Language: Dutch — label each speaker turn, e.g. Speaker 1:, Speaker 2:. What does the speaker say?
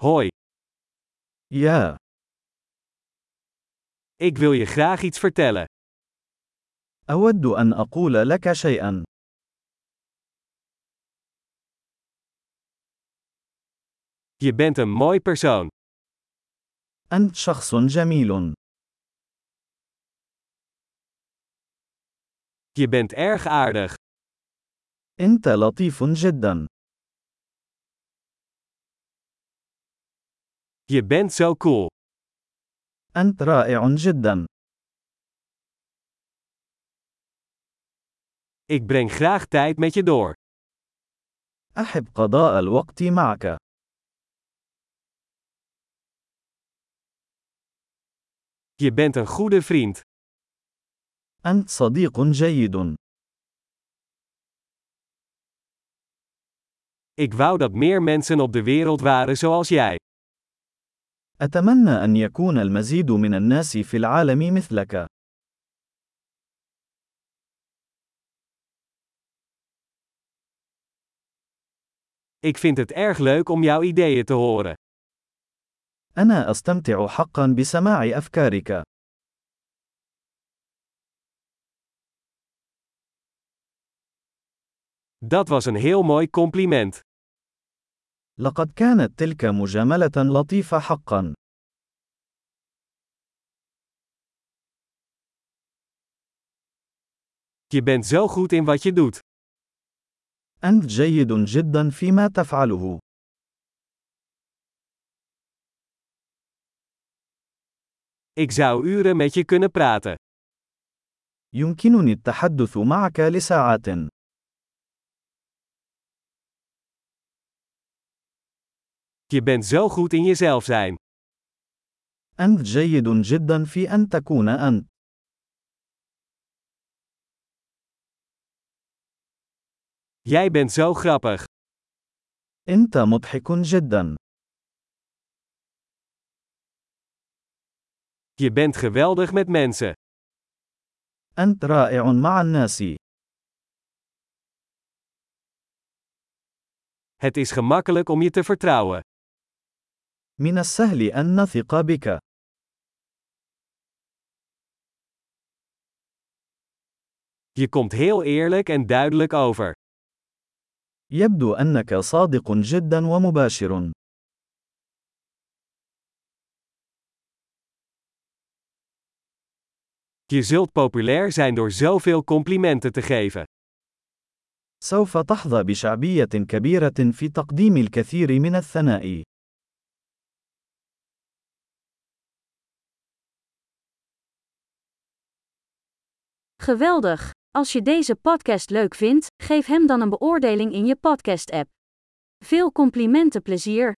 Speaker 1: Hoi,
Speaker 2: Ja,
Speaker 1: ik wil je graag iets vertellen.
Speaker 2: أود أن أقول لك شيئا.
Speaker 1: Je bent een mooi persoon.
Speaker 2: أنت شخص جميل.
Speaker 1: Je bent erg aardig.
Speaker 2: أنت لطيف جدا.
Speaker 1: Je bent zo cool.
Speaker 2: أنت رائع جدا.
Speaker 1: Ik breng graag tijd met je door.
Speaker 2: أحب قضاء الوقت معك.
Speaker 1: Je bent een goede vriend.
Speaker 2: أنت صديق جيد.
Speaker 1: Ik wou dat meer mensen op de wereld waren zoals jij.
Speaker 2: أتمنى أن يكون المزيد من الناس في العالم مثلك.
Speaker 1: Ik vind het erg leuk om jouw ideeën te horen.
Speaker 2: أنا أستمتع حقا بسماع أفكارك.
Speaker 1: Dat was een heel mooi compliment.
Speaker 2: لقد كانت تلك مجاملة لطيفة حقا.
Speaker 1: Je bent zo goed in wat je doet.
Speaker 2: أنت جيد جدا فيما تفعله.
Speaker 1: Ik zou uren met je kunnen praten.
Speaker 2: يمكنني التحدث معك لساعات.
Speaker 1: Je bent zo goed in jezelf zijn.
Speaker 2: أنت جيد جدا في أن تكون أنت.
Speaker 1: Jij bent zo grappig.
Speaker 2: أنت مضحك جدا.
Speaker 1: Je bent geweldig met mensen.
Speaker 2: أنت رائع مع الناس.
Speaker 1: Het is gemakkelijk om je te vertrouwen.
Speaker 2: من السهل أن نثق بك.
Speaker 1: Je komt heel eerlijk en duidelijk over.
Speaker 2: يبدو أنك صادق جدا ومباشر.
Speaker 1: Je zult populair zijn door zoveel complimenten te geven.
Speaker 2: سوف تحظى بشعبية كبيرة في تقديم الكثير من الثناء.
Speaker 3: Geweldig! Als je deze podcast leuk vindt, geef hem dan een beoordeling in je podcast-app. Veel complimenten plezier!